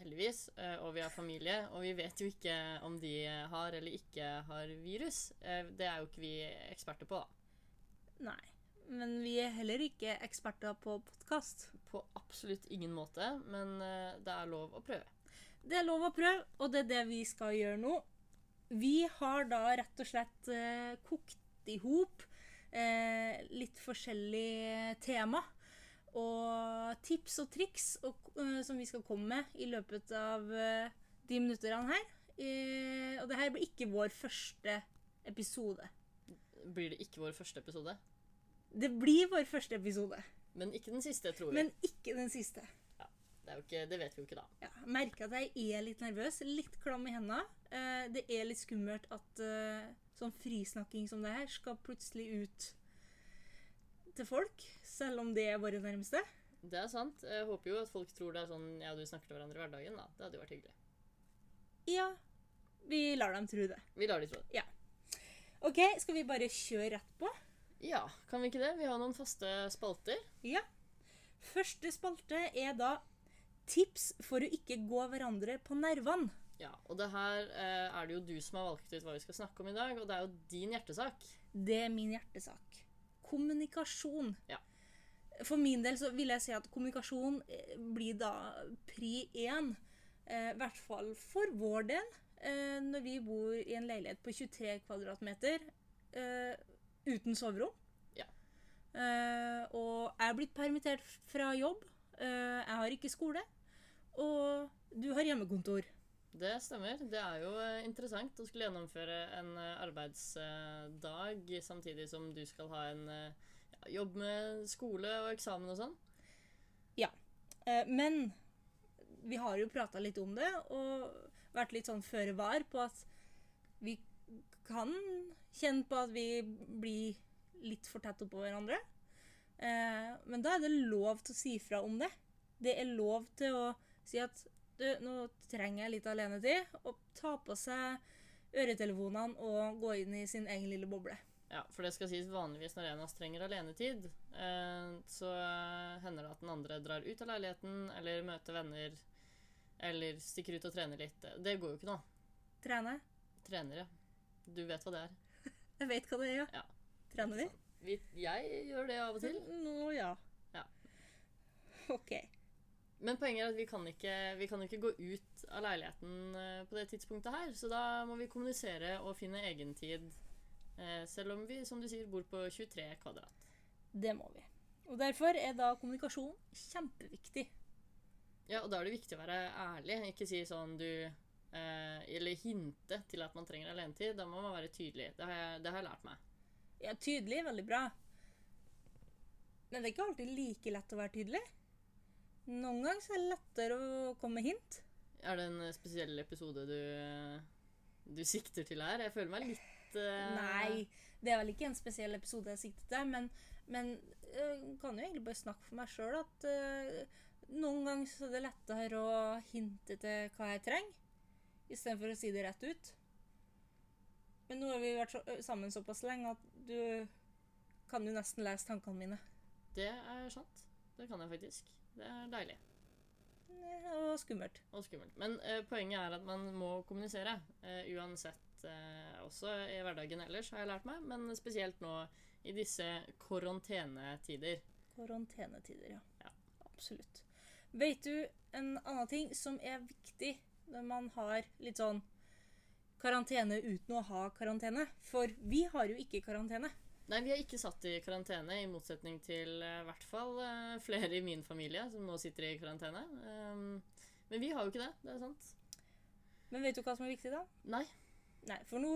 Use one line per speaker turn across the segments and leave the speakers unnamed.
heldigvis, eh, og vi har familie, og vi vet jo ikke om de har eller ikke har virus. Eh, Det er jo ikke vi eksperter på, da.
Nei. Men vi er heller ikke eksperter på podkast.
På absolutt ingen måte, men eh, det er lov å prøve.
Det er lov å prøve, og det er det vi skal gjøre nå. Vi har da rett og slett eh, kokt i hop eh, litt forskjellige tema. Og tips og triks og, eh, som vi skal komme med i løpet av eh, de minuttene her. Eh, og det her blir ikke vår første episode.
Blir det ikke vår første episode?
Det blir vår første episode,
Men ikke den siste, tror vi.
men ikke den siste.
Det, er jo ikke, det vet vi jo ikke, da.
Ja, jeg merker at jeg er litt nervøs, litt klam i hendene. Eh, det er litt skummelt at eh, sånn frisnakking som det her skal plutselig ut til folk, selv om det er våre nærmeste.
Det er sant. Jeg håper jo at folk tror det er sånn jeg og du snakker til hverandre i hverdagen, da. Det hadde jo vært hyggelig.
Ja, vi lar dem tro det.
Vi lar de tro det.
OK, skal vi bare kjøre rett på?
Ja, kan vi ikke det? Vi har noen faste spalter.
Ja. Første spalte er da tips for å ikke gå hverandre på nervene.
Ja, og det her eh, er det jo du som har valgt ut hva vi skal snakke om i dag, og det er jo din hjertesak.
Det er min hjertesak. Kommunikasjon.
Ja.
For min del så vil jeg si at kommunikasjon eh, blir da pri én. Eh, I hvert fall for vår del, eh, når vi bor i en leilighet på 23 kvadratmeter eh, uten soverom.
Ja.
Eh, og jeg er blitt permittert fra jobb. Eh, jeg har ikke skole. Og du har hjemmekontor.
Det stemmer. Det er jo eh, interessant å skulle gjennomføre en eh, arbeidsdag samtidig som du skal ha en eh, ja, jobb med skole og eksamen og sånn.
Eh, Men vi har jo prata litt om det, og vært litt sånn føre var på at vi kan kjenne på at vi blir litt for tett oppå hverandre. Eh, Men da er det lov til å si fra om det. Det er lov til å si at du, nå trenger jeg litt alenetid, og ta på seg øretelefonene og gå inn i sin egen lille boble.
Ja, for det skal sies vanligvis når en av oss trenger alenetid, eh, så eh, hender det at den andre drar ut av leiligheten eller møter venner eller stikker ut og trener litt. Det går jo ikke nå.
Trene.
Trenere. Du vet hva det er.
Jeg vet hva det er,
Ja.
Trener vi?
Vi, jeg gjør det av og til.
Nå, ja.
Ja.
OK.
Men poenget er at vi kan ikke, vi kan jo ikke gå ut av leiligheten eh, på det tidspunktet her, så da må vi kommunisere og finne egentid. eh, Selv om vi, som du sier, bor på 23 kvadrat.
Det må vi. Og Derfor er da kommunikasjon kjempeviktig.
Ja, og da er det viktig å være ærlig. Ikke si sånn du eh, Eller hinte til at man trenger alenetid. Da må man være tydelig. Det har jeg, det har jeg lært meg.
Ja, tydelig, veldig bra. Men det er ikke alltid like lett å være tydelig. Noen ganger så er det lettere å komme med hint.
Er det en eh, spesiell episode du, du sikter til her? Jeg føler meg litt eh,
Nei, det er vel ikke en spesiell episode jeg siktet til, men, men øh, kan jo egentlig bare snakke for meg sjøl at øh, noen ganger så er det lettere å hinte til hva jeg trenger, istedenfor å si det rett ut. Men nå har vi vært så, øh, sammen såpass lenge at du kan jo nesten lese tankene mine.
Det er sant. Det kan jeg faktisk. Det er deilig.
Det var skummelt.
og skummelt. Men eh, poenget er at man må kommunisere. eh, uansett eh, også i hverdagen ellers, har jeg lært meg. Men spesielt nå i disse karantenetider.
Karantenetider, ja.
Ja.
Absolutt. Vet du en annen ting som er viktig når man har litt sånn karantene uten å ha karantene? For vi har jo ikke karantene.
Nei, vi er ikke satt i karantene, i motsetning til eh, i hvert fall eh, flere i min familie som nå sitter i karantene. Ehm, men vi har jo ikke det. Det er sant.
Men vet du hva som er viktig da?
Nei.
Nei, for nå,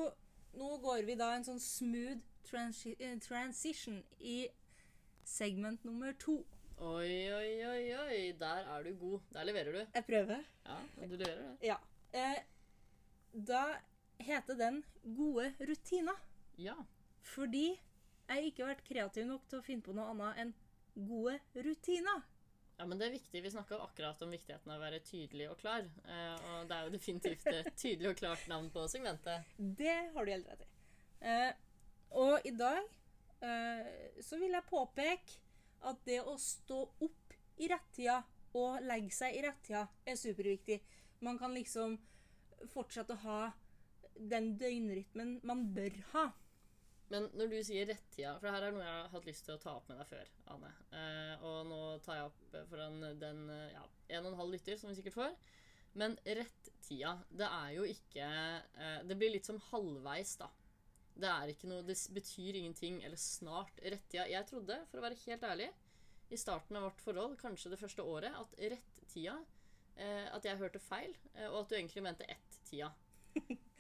nå går vi da en sånn smooth transi eh, transition i segment nummer to.
Oi, oi, oi, oi. Der er du god. Der leverer du.
Jeg prøver.
Ja, du leverer det.
Ja. Eh, da heter den Gode rutiner.
Ja.
Fordi jeg ikke har vært kreativ nok til å finne på noe annet enn gode rutiner.
Ja, men det er viktig. Vi snakka akkurat om viktigheten av å være tydelig og klar. eh, Og det er jo definitivt et tydelig og klart navn på segmentet.
Det har du helt rett i. Eh, og i dag eh, så vil jeg påpeke at det å stå opp i rettida og legge seg i rettida er superviktig. Man kan liksom fortsette å ha den døgnrytmen man bør ha.
Men når du sier rettida, for her er noe jeg har hatt lyst til å ta opp med deg før, Anne. Eh, Og nå tar jeg opp foran den eh, ja, en og en halv lytter, som vi sikkert får. Men rettida, det er jo ikke eh, Det blir litt som halvveis, da. Det er ikke noe, det s- betyr ingenting, eller snart. Rettida Jeg trodde, for å være helt ærlig, i starten av vårt forhold, kanskje det første året, at rettida eh, At jeg hørte feil, eh, og at du egentlig mente ett-tida.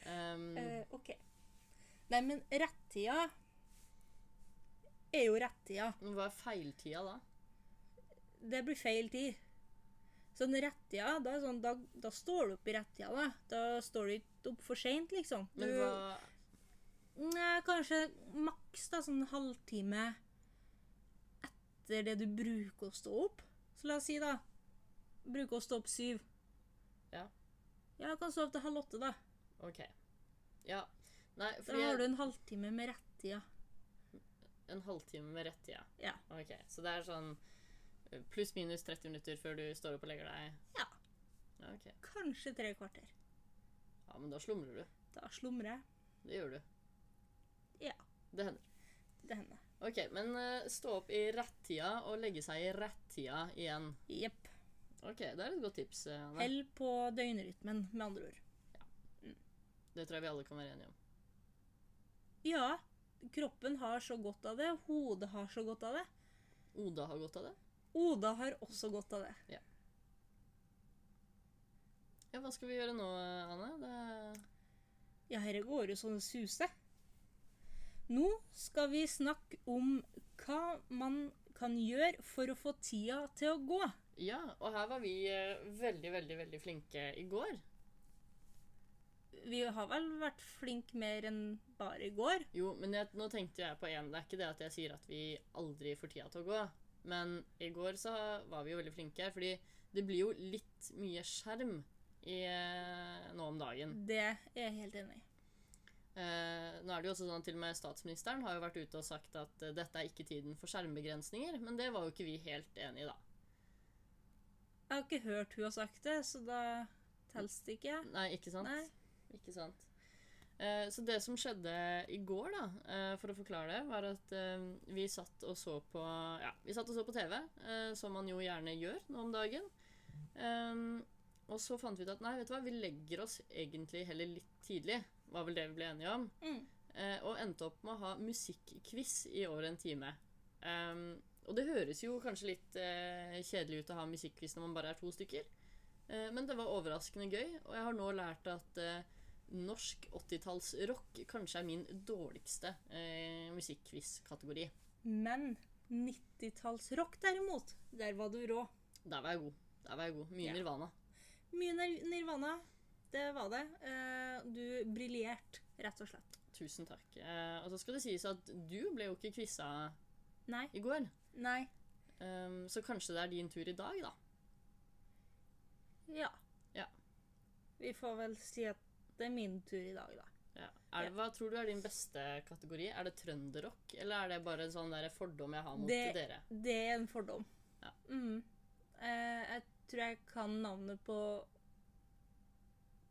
Um,
Eh, OK. Nei, men rettida er jo rettida.
men hva er feiltida da?
det blir feil tid. Sånn rettida, da, er sånn, da, da står du opp i rettida. Da Da står du ikke opp for seint, liksom. Du,
Men hva
Nei, kanskje maks da, sånn halvtime etter det du bruker å stå opp. Så la oss si, da Bruker å stå opp syv.
Ja.
Ja, du kan sove til halv åtte, da.
Ok. Ja. Nei,
Da
fordi
har du en halvtime med rettida.
en halvtime med rett tida.
Ja.
Ok, Så det er sånn eh, pluss-minus 30 minutter før du står opp og legger deg?
Ja.
Ja, ok.
Kanskje tre kvarter.
Ja, men da slumrer du.
Da slumrer jeg.
Det gjør du.
Ja.
Det hender.
Det hender.
Ok, men eh, stå opp i rett-tida og legge seg i rett-tida igjen.
Jepp.
Ok, det er et godt tips, eh, Anne.
Hell på døgnrytmen, med andre ord.
Det tror jeg vi alle kan være enige om.
Ja, kroppen har så godt av det. Hodet har så godt av det.
Oda har godt av det.
Oda har også godt av det.
Ja, hva skal vi gjøre nå, Anne? Det...
Ja, herre går jo sånn suse. Nå skal vi snakke om hva man kan gjøre for å få tida til å gå.
Ja, og her var vi eh, veldig, veldig, veldig flinke i går.
Vi har vel vært flinke mer enn bare i går.
Jo, men jeg, nå tenkte jeg på en. Det er ikke det at jeg sier at vi aldri får tida til å gå. Men i går så var vi jo veldig flinke her, fordi det blir jo litt mye skjerm i, eh, nå om dagen.
Det er jeg helt enig i.
Eh, nå er det jo også sånn at til og med statsministeren har jo vært ute og sagt at eh, dette er ikke tiden for skjermbegrensninger, men det var jo ikke vi helt enig i, da.
Jeg har ikke hørt hun har sagt det, så da telles det ikke.
Nei, ikke sant?
Nei.
Ikke sant. Eh, så det som skjedde i går, da, eh, for å forklare det, var at eh, vi satt og så på Ja, vi satt og så på TV, eh, som man jo gjerne gjør nå om dagen. Ehm, og så fant vi ut at nei, vet du hva, vi legger oss egentlig heller litt tidlig. Var vel det vi ble enige om.
Mm.
Eh, og endte opp med å ha musikkquiz i over en time. Ehm, og det høres jo kanskje litt eh, kjedelig ut å ha musikkquiz når man bare er to stykker. Eh, Men det var overraskende gøy, og jeg har nå lært at eh, norsk 80-tallsrock kanskje er min dårligste eh, musikkquiz-kategori.
Men 90-tallsrock, derimot, der var du rå.
Der var jeg god. Der var jeg god. Mye
Ja.
Nirvana.
Mye nir- Nirvana. Det var det. Eh, Du briljerte, rett og slett.
Tusen takk. Eh, og så skal det sies at du ble jo ikke quiza
Nei.
i går,
Nei.
Ehm, så kanskje det er din tur i dag, da.
Ja.
Ja.
Vi får vel si at det er min tur i dag, da.
Ja. Er det, hva tror du er din beste kategori? Er det trønderrock, eller er det bare en sånn der fordom jeg har mot
Det-
dere?
Det er en fordom.
Ja.
Mm. Eh, Jeg tror jeg kan navnet på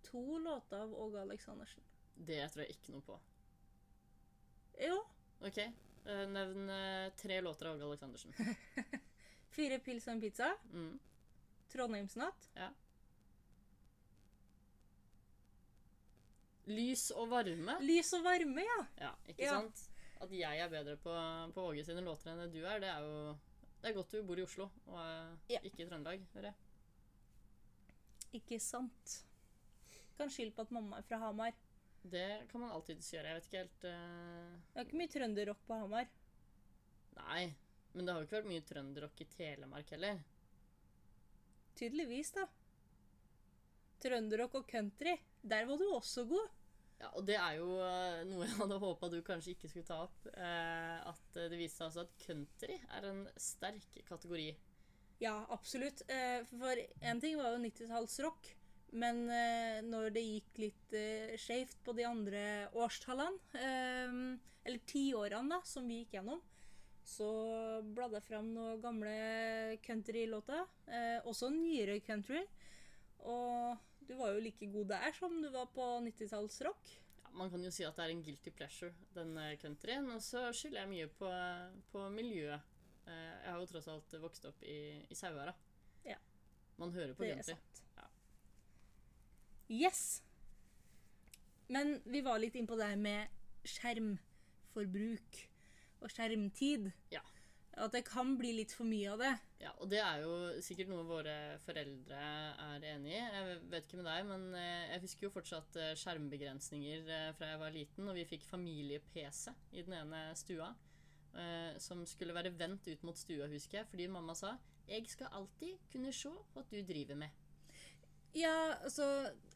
to låter av Åge Aleksandersen.
Det tror jeg ikke noe på.
Jo.
OK, eh, nevn eh, tre låter av Åge Aleksandersen.
Fire pils og en pizza.
Mm.
Trondheimsnatt.
Lys og varme?
Lys og varme, ja.
Ja, ikke
Ja.
sant? At jeg er bedre på, på Åge sine låter enn det du er, det er jo Det er godt du bor i Oslo og eh,
Ja.
ikke i Trøndelag, hører jeg.
Ikke sant. Kan skylde på at mamma er fra Hamar.
Det kan man alltids gjøre. Jeg vet ikke helt eh,
Det er ikke mye trønderrock på Hamar.
Nei. Men det har jo ikke vært mye trønderrock i Telemark heller.
Tydeligvis, da. Trønderrock og country. Der var du også god.
Ja, og det er jo eh, noe jeg hadde håpa du kanskje ikke skulle ta opp. Eh, at eh, det viste seg altså at country er en sterk kategori.
Ja, absolutt. Eh, For én ting var jo 90-tallsrock, men eh, når det gikk litt eh, skjevt på de andre årstallene, eh, eller tiårene da, som vi gikk gjennom, så bladde jeg fram noen gamle countrylåter, eh, også nyere country. Og du var jo like god der som du var på 90-tallsrock.
Ja, man kan jo si at det er en guilty pleasure, den eh, countryen. Og så skylder jeg mye på, på miljøet. Eh, jeg har jo tross alt vokst opp i, i Sauherad.
Ja.
Man hører på
Det er
country.
sant.
Ja.
Yes. Men vi var litt innpå det her med skjermforbruk og skjermtid.
Ja.
At det kan bli litt for mye av det.
Ja, og det er jo sikkert noe våre foreldre er enig i. Jeg vet ikke med deg, men eh, jeg husker jo fortsatt eh, skjermbegrensninger eh, fra jeg var liten, og vi fikk familie-PC i den ene stua, eh, som skulle være vendt ut mot stua, husker jeg, fordi mamma sa «Jeg skal alltid kunne se hva du driver med».
Ja, altså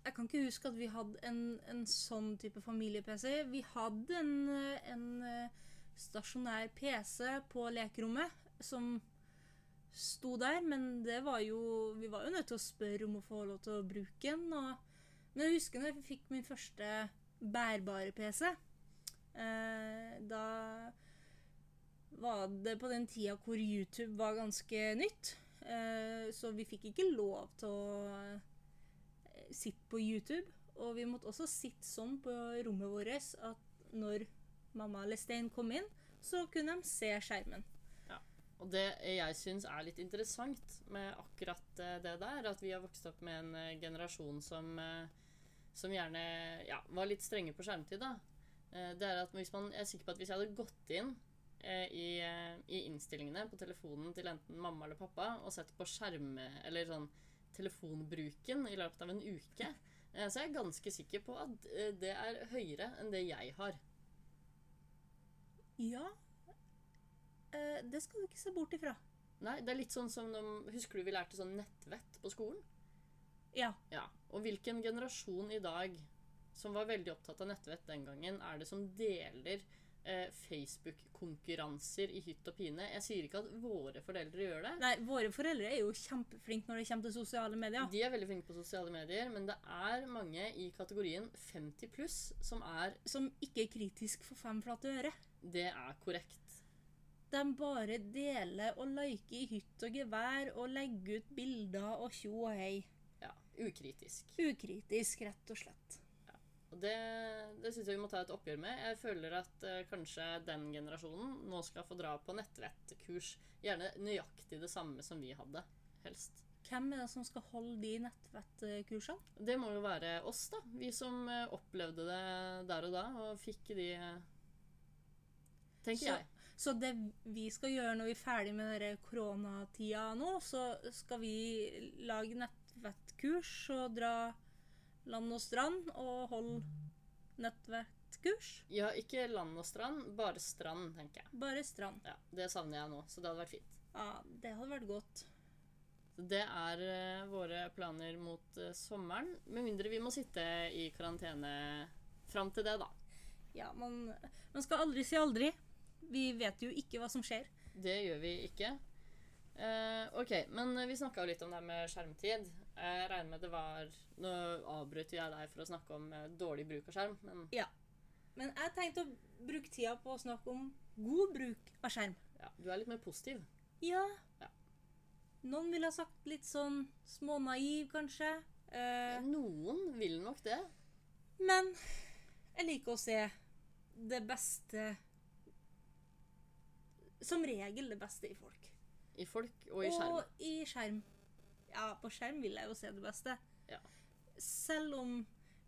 Jeg kan ikke huske at vi hadde en, en sånn type familie-PC. Vi hadde en, eh, en eh, stasjonær PC på lekerommet som sto der, men det var jo Vi var jo nødt til å spørre om å få lov til å bruke den. Og men jeg husker når jeg fikk min første bærbare PC. Eh, da var det på den tida hvor YouTube var ganske nytt. Eh, så vi fikk ikke lov til å sitt på YouTube. Og vi måtte også sitte sånn på rommet vårt at når mamma eller Stein kom inn, så kunne de se skjermen.
Og det jeg syns er litt interessant med akkurat eh, det der, at vi har vokst opp med en eh, generasjon som, eh, som gjerne ja, var litt strenge på skjermtid, da. Eh, Det er at hvis man, Jeg er sikker på at hvis jeg hadde gått inn eh, i, eh, i innstillingene på telefonen til enten mamma eller pappa og sett på skjerm... Eller sånn telefonbruken i løpet av en uke, eh, så er jeg ganske sikker på at eh, det er høyere enn det jeg har.
Ja, eh, det skal du ikke se bort ifra.
Nei, det er litt sånn som når, Husker du vi lærte sånn nettvett på skolen?
Ja,
Ja, og hvilken generasjon i dag som var veldig opptatt av nettvett den gangen, er det som deler eh, Facebook-konkurranser i hytt og pine? Jeg sier ikke at våre foreldre gjør det.
nei, Våre foreldre er jo kjempeflinke når det kommer til sosiale medier.
De er veldig flinke på sosiale medier, men det er mange i kategorien 50 pluss som er
Som ikke er kritisk for fem flate øre.
Det er korrekt.
De bare deler og liker i hytt og gevær og legger ut bilder og tjo og hei.
Ja, ukritisk.
Ukritisk, rett og slett.
Og det, det syns jeg vi må ta et oppgjør med. Jeg føler at eh, kanskje den generasjonen nå skal få dra på nettvettkurs. Gjerne nøyaktig det samme som vi hadde, helst.
Hvem er det som skal holde de nettvettkursene?
Det må jo være oss, da. Vi som eh, opplevde det der og da, og fikk de eh, Tenker
Så-
jeg.
Så det vi skal gjøre når vi er ferdig med denne koronatida nå, så skal vi lage nettvettkurs og dra land og strand og holde nettvettkurs.
Ja, ikke land og strand, bare strand, tenker jeg.
Bare strand.
Ja, Det savner jeg nå, så det hadde vært fint.
Ja, det hadde vært godt.
Så Det er eh, våre planer mot eh, sommeren. Med mindre vi må sitte i karantene fram til det, da.
Ja, man, man skal aldri si aldri. Vi vet jo ikke hva som skjer.
Det gjør vi ikke. Eh, ok, men vi snakka jo litt om det her med skjermtid. Jeg regner med det var Nå avbrøt jeg deg for å snakke om eh, dårlig bruk av skjerm, men
Men jeg tenkte å bruke tida på å snakke om god bruk av skjerm.
ja, du er litt mer positiv.
Ja.
Ja.
Noen ville ha sagt litt sånn smånaiv, kanskje. Eh,
Noen vil nok det.
Men jeg liker å se det beste Som regel det beste i folk.
I folk og i skjerm.
Og i skjerm. Ja, på skjerm vil jeg jo se det beste.
Ja.
Selv om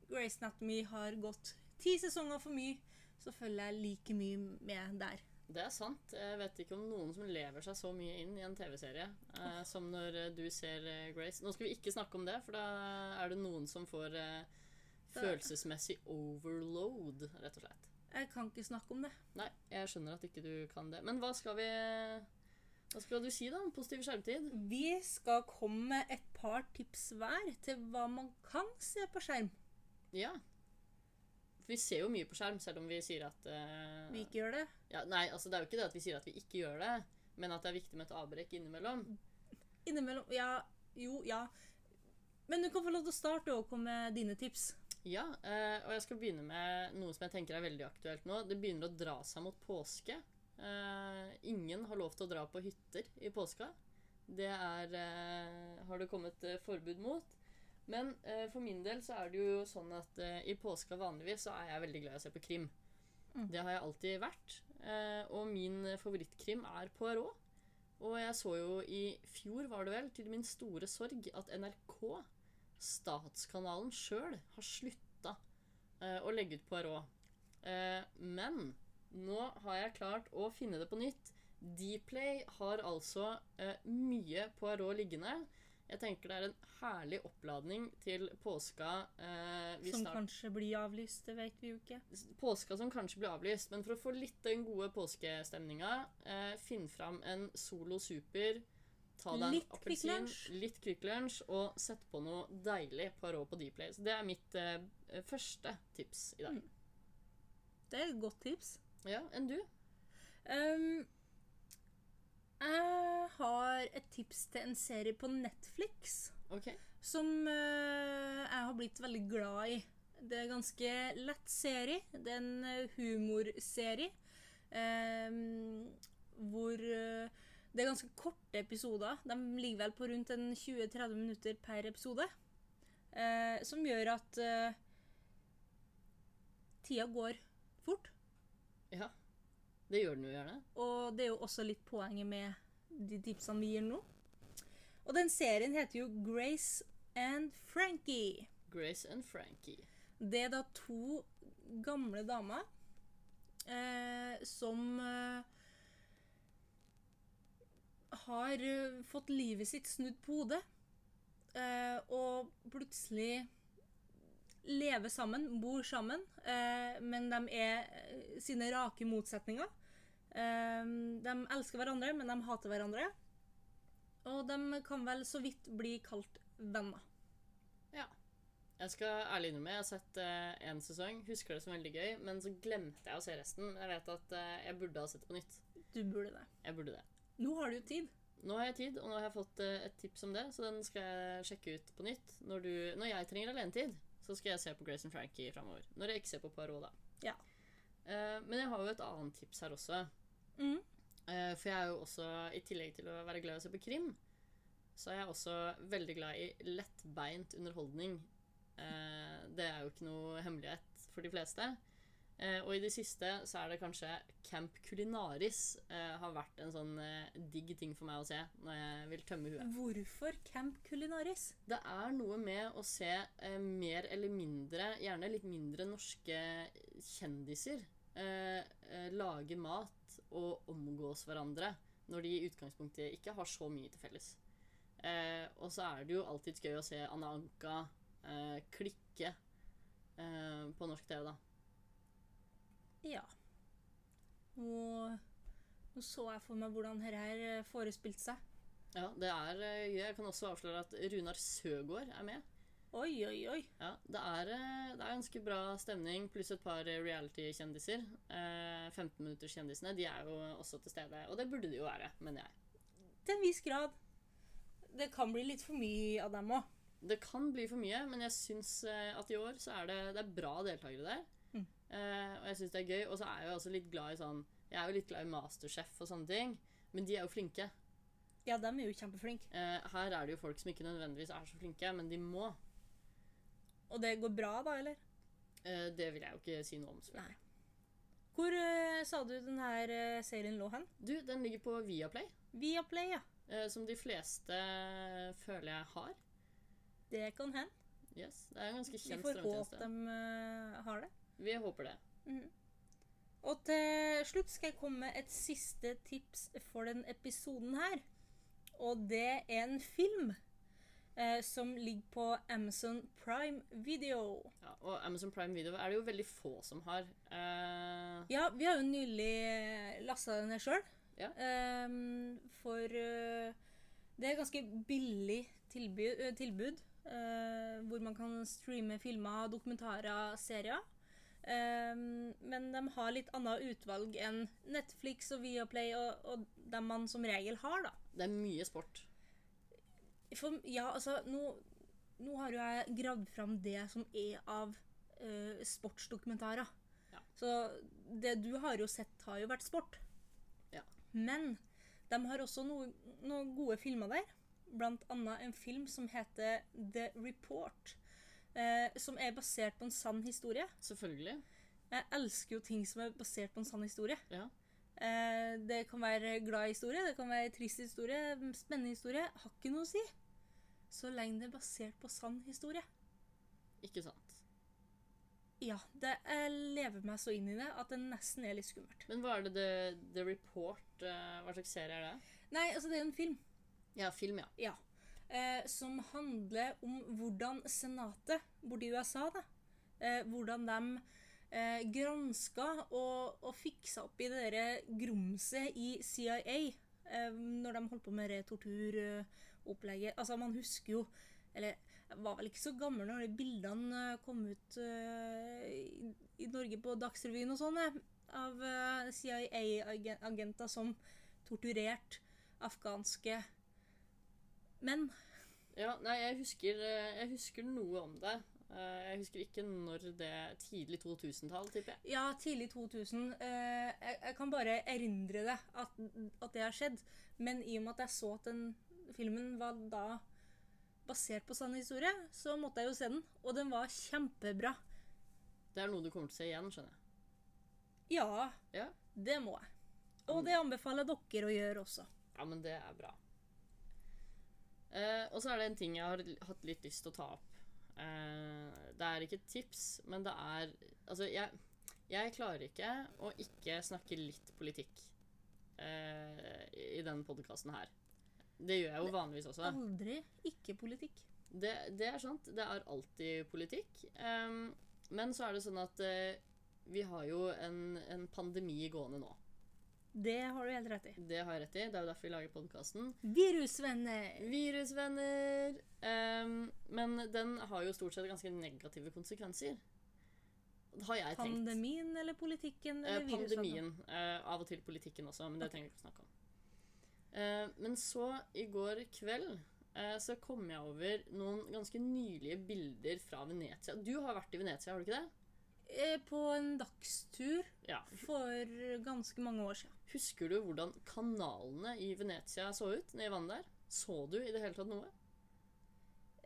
Grace Anatomy har gått ti sesonger for mye, så følger jeg like mye med der.
Det er sant. Jeg vet ikke om noen som lever seg så mye inn i en TV-serie eh, som når eh, du ser eh, Grace. Nå skal vi ikke snakke om det, for da er det noen som får eh,
Da-
følelsesmessig overload, rett og slett.
Jeg kan ikke snakke om det.
Nei, jeg skjønner at ikke du kan det. Men hva skal vi Hva skal du si, da? om Positiv skjermtid?
Vi skal komme med et par tips hver til hva man kan se på skjerm.
Ja. For vi ser jo mye på skjerm, selv om vi sier at eh,
Vi ikke gjør det.
ja, Nei, altså det er jo ikke det at vi sier at vi ikke gjør det, men at det er viktig med et avbrekk innimellom.
Innimellom Ja, jo, ja. Men du kan få lov til å starte og komme med dine tips.
Ja, eh, og jeg skal begynne med noe som jeg tenker er veldig aktuelt nå. Det begynner å dra seg mot påske. Eh, ingen har lov til å dra på hytter i påska. Det er, eh, har det kommet eh, forbud mot. Men eh, for min del så er det jo sånn at eh, i påska vanligvis så er jeg veldig glad i å se på krim.
Mm.
Det har jeg alltid vært. Eh, og min eh, favorittkrim er Poirot. Og jeg så jo i fjor, var det vel, til min store sorg, at NRK statskanalen sjøl har slutta eh, å legge ut Poirot. Eh, men nå har jeg klart å finne det på nytt. Dplay har altså eh, mye Poirot liggende. Jeg tenker det er en herlig oppladning til påska. Eh, vi
Som
snart-
kanskje blir avlyst, det vet vi jo ikke.
påska som kanskje blir avlyst, men for å få litt den gode påskestemninga, eh, finn fram en Solo Super, ta deg
Litt
en appelsin,
Kvikk
litt Kvikk Lunsj, og sett på noe deilig Poirot på Dplay. Så det er mitt eh, første tips i dag.
Det er et godt tips.
Ja, enn du?
Ehm, jeg har et tips til en serie på Netflix
OK.
som eh, jeg har blitt veldig glad i. Det er en ganske lett serie. Det er en eh, humorserie ehm, hvor eh, det er ganske korte episoder. De ligger vel på rundt en 20-30 minutter per episode. eh, som gjør at eh, tida går fort.
Ja. Det gjør den jo gjerne.
Og det er jo også litt poenget med de tipsene vi gir nå. Og den serien heter jo Grace and Frankie.
Grace and Frankie.
Det er da to gamle damer eh, som eh, har eh, fått livet sitt snudd på hodet. Eh, og plutselig lever sammen, bor sammen, eh, men de er eh, sine rake motsetninger. Eh, de elsker hverandre, men de hater hverandre. Og de kan vel så vidt bli kalt venner.
Ja. Jeg skal ærlig innrømme, jeg har sett én sesong, husker det som veldig gøy, men så glemte jeg å se resten. Jeg vet at eh, jeg burde ha sett det på nytt.
Du burde det.
Jeg burde det.
Nå har du jo tid.
Nå har jeg tid, og nå har jeg fått eh, et tips om det, så den skal jeg sjekke ut på nytt. Når, du, når jeg trenger alenetid, så skal jeg se på Grace and Frankie framover. Når jeg ikke ser på Poirot, da.
Ja.
Eh, men jeg har jo et annet tips her også.
Mm.
Eh, for jeg er jo også, i tillegg til å være glad i å se på krim, så er jeg også veldig glad i lettbeint underholdning. Eh, det er jo ikke noe hemmelighet for de fleste. Eh, og i det siste så er det kanskje Camp Culinaris eh, har vært en sånn eh, digg ting for meg å se når jeg vil tømme huet.
Hvorfor Camp Culinaris?
Det er noe med å se eh, mer eller mindre, gjerne litt mindre norske kjendiser eh, eh, lage mat og omgås hverandre når de i utgangspunktet ikke har så mye til felles. Eh, og så er det jo alltid gøy å se Anna Anka eh, klikke eh, på norsk TV, da.
Ja. Nå, nå så jeg for meg hvordan dette her eh, forespilte seg.
Ja, det er eh, gøy. Jeg kan også avsløre at Runar Søgaard er med.
Oi, oi, oi.
Ja, det er, eh, det er ganske bra stemning, pluss et par eh, reality-kjendiser. Eh, 15 minutters kjendisene, de er jo også til stede, og det burde de jo være, mener jeg.
Til en viss grad. Det kan bli litt for mye av dem òg.
Det kan bli for mye, men jeg syns eh, at i år så er det, det er bra deltakere der.
Mm.
Eh, og jeg syns det er gøy. Og så er jeg jo også litt glad i sånn Jeg er jo litt glad i Masterchef og sånne ting, men de er jo flinke.
Ja, dem er jo kjempeflinke.
Eh, her er det jo folk som ikke nødvendigvis er så flinke, men de må.
Og det går bra, da, eller?
Eh, det vil jeg jo ikke si noe om. selvfølgelig.
Nei. Hvor eh, sa du den her eh, serien lå hen?
Du, den ligger på Viaplay,
Viaplay, ja.
eh, som de fleste eh, føler jeg har.
Det kan hende.
Yes, det er en ganske
Vi
kjent
får håpe
strømmetjeneste.
de eh, har det.
Vi håper det.
Mhm. Og til slutt skal jeg komme med et siste tips for den episoden her. Og det er en film eh, som ligger på Amazon Prime Video.
Ja, og Amazon Prime Video er det jo veldig få som har. Eh,
Ja, vi har jo nylig lasta den ned sjøl.
Ja.
for eh, det er et ganske billig tilbud, eh, tilbud eh, hvor man kan streame filmer, dokumentarer, serier. Ehm, men de har litt annet utvalg enn Netflix og Viaplay og, og dem man som regel har, da.
Det er mye sport.
For, ja, altså, nå, nå har jo jeg gravd fram det som er av eh, sportsdokumentarer.
Ja.
Så det du har jo sett, har jo vært sport.
Ja.
Men de har også noe, noen gode filmer der. Blant annet en film som heter The Report. eh, som er basert på en sann historie.
Selvfølgelig.
Jeg elsker jo ting som er basert på en sann historie.
Ja.
Eh, det kan være glad historie, det kan være trist historie, spennende historie. Har ikke noe å si. Så lenge det er basert på sann historie.
Ikke sant.
Ja, det, jeg lever meg så inn i det at det nesten er litt skummelt.
Men hva er det The, the Report eh, Hva slags serie er det?
Nei, altså det er en film
Ja, film, ja.
ja, eh, som handler om hvordan senatet borti USA, da, eh, hvordan de eh, granska og, og fiksa opp i det der grumset i CIA eh, når de holdt på med det torturopplegget. Altså, man husker jo Eller jeg var vel ikke så gammel når de bildene eh, kom ut eh, i, i Norge på Dagsrevyen og sånn, eh, av eh, CIA-agenter som torturerte afghanske menn.
Ja, nei, jeg husker, eh, jeg husker noe om det. Eh, Jeg husker ikke når det Tidlig 2000-tall, tipper jeg.
Ja, tidlig 2000. Eh, jeg, jeg kan bare erindre det, at, at det har skjedd. Men i og med at jeg så at den filmen var da basert på sann historie, så måtte jeg jo se den. Og den var kjempebra.
Det er noe du kommer til å se igjen, skjønner jeg.
Ja,
Ja,
det må jeg. Og det anbefaler jeg dere å gjøre også.
ja men det er bra. Eh, og så er det en ting jeg har l- hatt litt lyst til å ta opp. Eh, det er ikke et tips, men det er Altså, jeg, jeg klarer ikke å ikke snakke litt politikk eh, i i den podkasten her. Det gjør jeg jo vanligvis også.
Aldri ikke politikk.
Det, det er sant. Det er alltid politikk. Ehm, men så er det sånn at eh, vi har jo en, en pandemi gående nå.
Det har du helt rett i.
Det har jeg rett i. Det er jo derfor vi lager podkasten.
Virusvenner!
Virusvenner! Ehm, men den har jo stort sett ganske negative konsekvenser. Har jeg tenkt.
Pandemien eller politikken
Eh,
eller virusvenner?
pandemien. eh, av og til politikken også, men det trenger vi ikke å snakke om. Eh, men så, i går kveld, eh, så kom jeg over noen ganske nylige bilder fra Venezia. Du har vært i Venezia, har du ikke det?
Eh, På en dagstur
Ja.
for ganske mange år siden.
Husker du hvordan kanalene i Venezia så ut nede i vannet der? Så du i det hele tatt noe?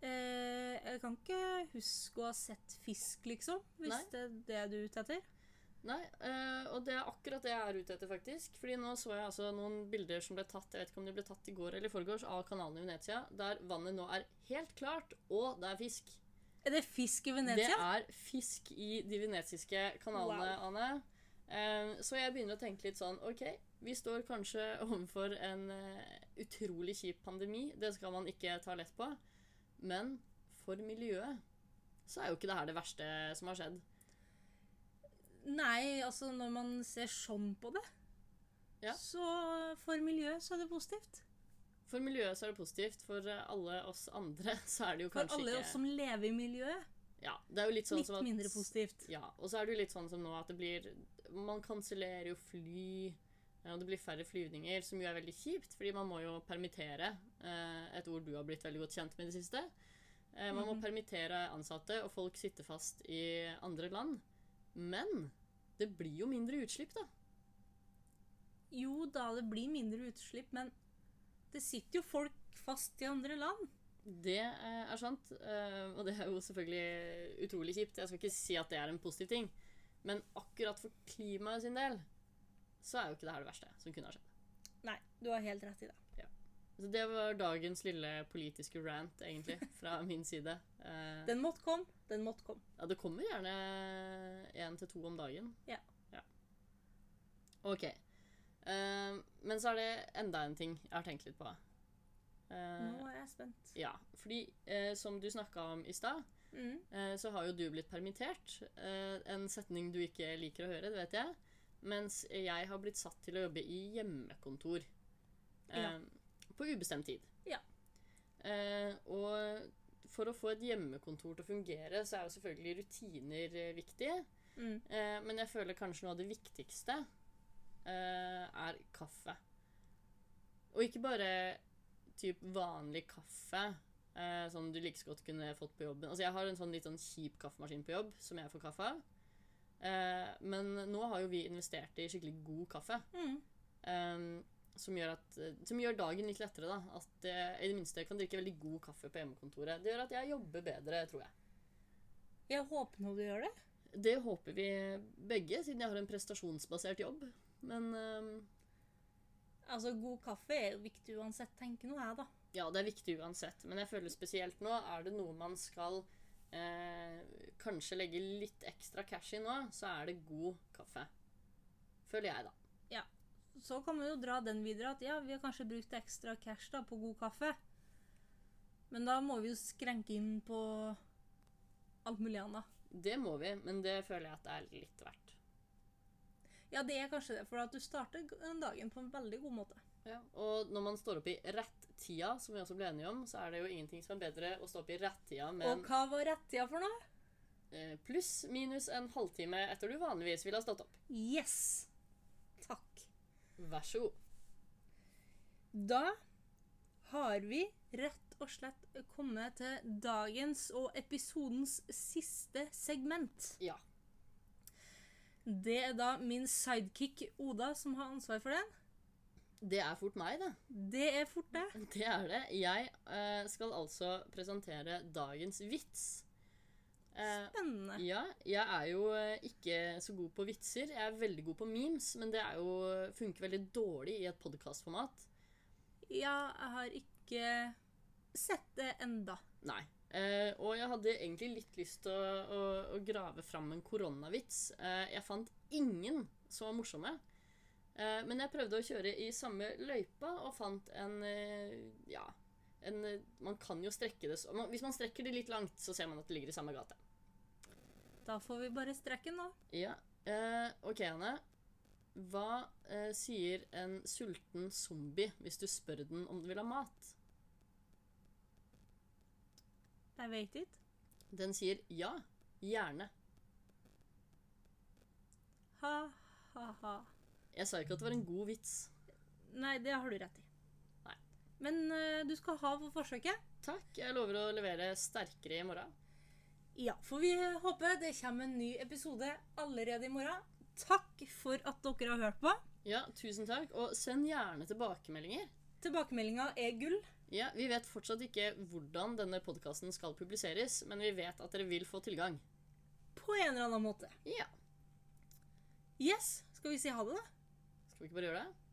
Eh, jeg kan ikke huske å ha sett fisk, liksom. Hvis
Nei.
det er det du er ute etter.
Nei, eh, og det er akkurat det jeg er ute etter, faktisk. Fordi nå så jeg altså noen bilder som ble tatt jeg vet ikke om de ble tatt i går eller i forgårs, av kanalen i Venezia, der vannet nå er helt klart, og det er fisk.
Er det fisk i Venezia?
Det er fisk i de venetiske kanalene, Anne. Eh, så jeg begynner å tenke litt sånn OK, vi står kanskje overfor en eh, utrolig kjip pandemi. Det skal man ikke ta lett på. Men for miljøet så er jo ikke det her det verste som har skjedd.
Nei, altså når man ser sånn på det,
Ja.
så for miljøet så er det positivt.
For miljøet så er det positivt. For eh, alle oss andre så er det jo
For
kanskje
alle
ikke
oss som lever i miljøet,
ja, det er jo litt, sånn
litt
som at,
mindre positivt.
Ja, og så er det jo litt sånn som nå at det blir Man kansellerer jo fly, eh, og det blir færre flyvninger, som jo er veldig kjipt, fordi man må jo permittere. eh, Et ord du har blitt veldig godt kjent med i det siste. Eh, Man må
Mhm.
permittere ansatte, og folk sitter fast i andre land. Men det blir jo mindre utslipp, da.
Jo da, det blir mindre utslipp, men det sitter jo folk fast i andre land.
Det eh, er sant, eh, og det er jo selvfølgelig utrolig kjipt. Jeg skal ikke si at det er en positiv ting, men akkurat for klimaet sin del så er jo ikke det her det verste som kunne ha skjedd.
Nei, du har helt rett i det.
Så det var dagens lille politiske rant, egentlig, fra min side. Eh,
Den måtte komme, den måtte komme.
ja, det kommer gjerne én til to om dagen.
Ja.
OK. Eh, men så er det enda en ting jeg har tenkt litt på. Eh,
Nå er jeg spent.
ja, fordi eh, som du snakka om i stad,
Mm.
eh, så har jo du blitt permittert. Eh, en setning du ikke liker å høre, det vet jeg. Mens jeg har blitt satt til å jobbe i hjemmekontor. Eh,
Ja.
På ubestemt tid.
Ja.
Eh, og for å få et hjemmekontor til å fungere, så er jo selvfølgelig rutiner eh, viktig.
Mm.
Eh, men jeg føler kanskje noe av det viktigste eh, er kaffe. Og ikke bare typ vanlig kaffe eh, som du like så godt kunne fått på jobben. Altså Jeg har en sånn litt sånn kjip kaffemaskin på jobb som jeg får kaffe av. Eh, men nå har jo vi investert i skikkelig god kaffe.
Mm.
Ehm, som, gjør at, som gjør dagen litt lettere. da. At jeg i det minste kan drikke veldig god kaffe på hjemmekontoret. Det gjør at jeg jobber bedre, tror jeg.
Jeg håper nå du gjør det.
Det håper vi begge, siden jeg har en prestasjonsbasert jobb. Men ehm,
Altså, god kaffe er jo viktig uansett, tenker nå jeg, da.
ja, det er viktig uansett. Men jeg føler spesielt nå, er det noe man skal eh, kanskje legge litt ekstra cash i nå, så er det god kaffe. Føler jeg, da.
Så kan man jo dra den videre at ja, vi har kanskje brukt ekstra cash da på god kaffe. Men da må vi jo skrenke inn på alt mulig annet.
Det må vi, men det føler jeg at det er litt verdt.
Ja, det er kanskje det, for at du starter g- dagen på en veldig god måte.
Ja, og når man står opp i rett tida, som vi også ble enige om, så er det jo ingenting som er bedre å stå opp i rett tida, men
Og hva var rettida for noe?
eh, pluss minus en halvtime etter du vanligvis ville ha stått opp.
Yes! Takk.
Vær så god.
Da har vi rett og slett kommet til dagens og episodens siste segment.
Ja.
Det er da min sidekick Oda som har ansvar for den.
Det er fort meg, det.
Det er fort det.
Det er det. Jeg eh, skal altså presentere dagens vits. Eh,
Spennende.
ja, jeg er jo eh, ikke så god på vitser. Jeg er veldig god på memes, men det er jo, funker veldig dårlig i et podkastformat.
Ja, jeg har ikke sett det enda.
Nei. Eh, og jeg hadde egentlig litt lyst til å, å, å grave fram en koronavits. Eh, jeg fant ingen som var morsomme. Eh, men jeg prøvde å kjøre i samme løypa og fant en eh, Ja. En, eh, man kan jo strekke det så man, Hvis man strekker det litt langt, så ser man at det ligger i samme gate.
Da får vi bare strekke nå.
Ja. Eh, OK, Anne. Hva eh, sier en sulten zombie hvis du spør den om den vil ha mat?
Jeg vet ikke.
Den sier ja. Gjerne.
Ha, ha, ha.
Jeg sa ikke at det var en god vits.
Nei, det har du rett i.
Nei.
Men eh, du skal ha for forsøket.
Takk. Jeg lover å levere sterkere i morgen.
Ja, for vi håper det kommer en ny episode allerede i morgen. Takk for at dere har hørt på.
Ja, tusen takk. Og send gjerne tilbakemeldinger.
Tilbakemeldinga er gull.
Ja, Vi vet fortsatt ikke hvordan denne podkasten skal publiseres, men vi vet at dere vil få tilgang.
På en eller annen måte.
Ja.
Yes, skal vi si ha det, da?
Skal vi ikke bare gjøre det?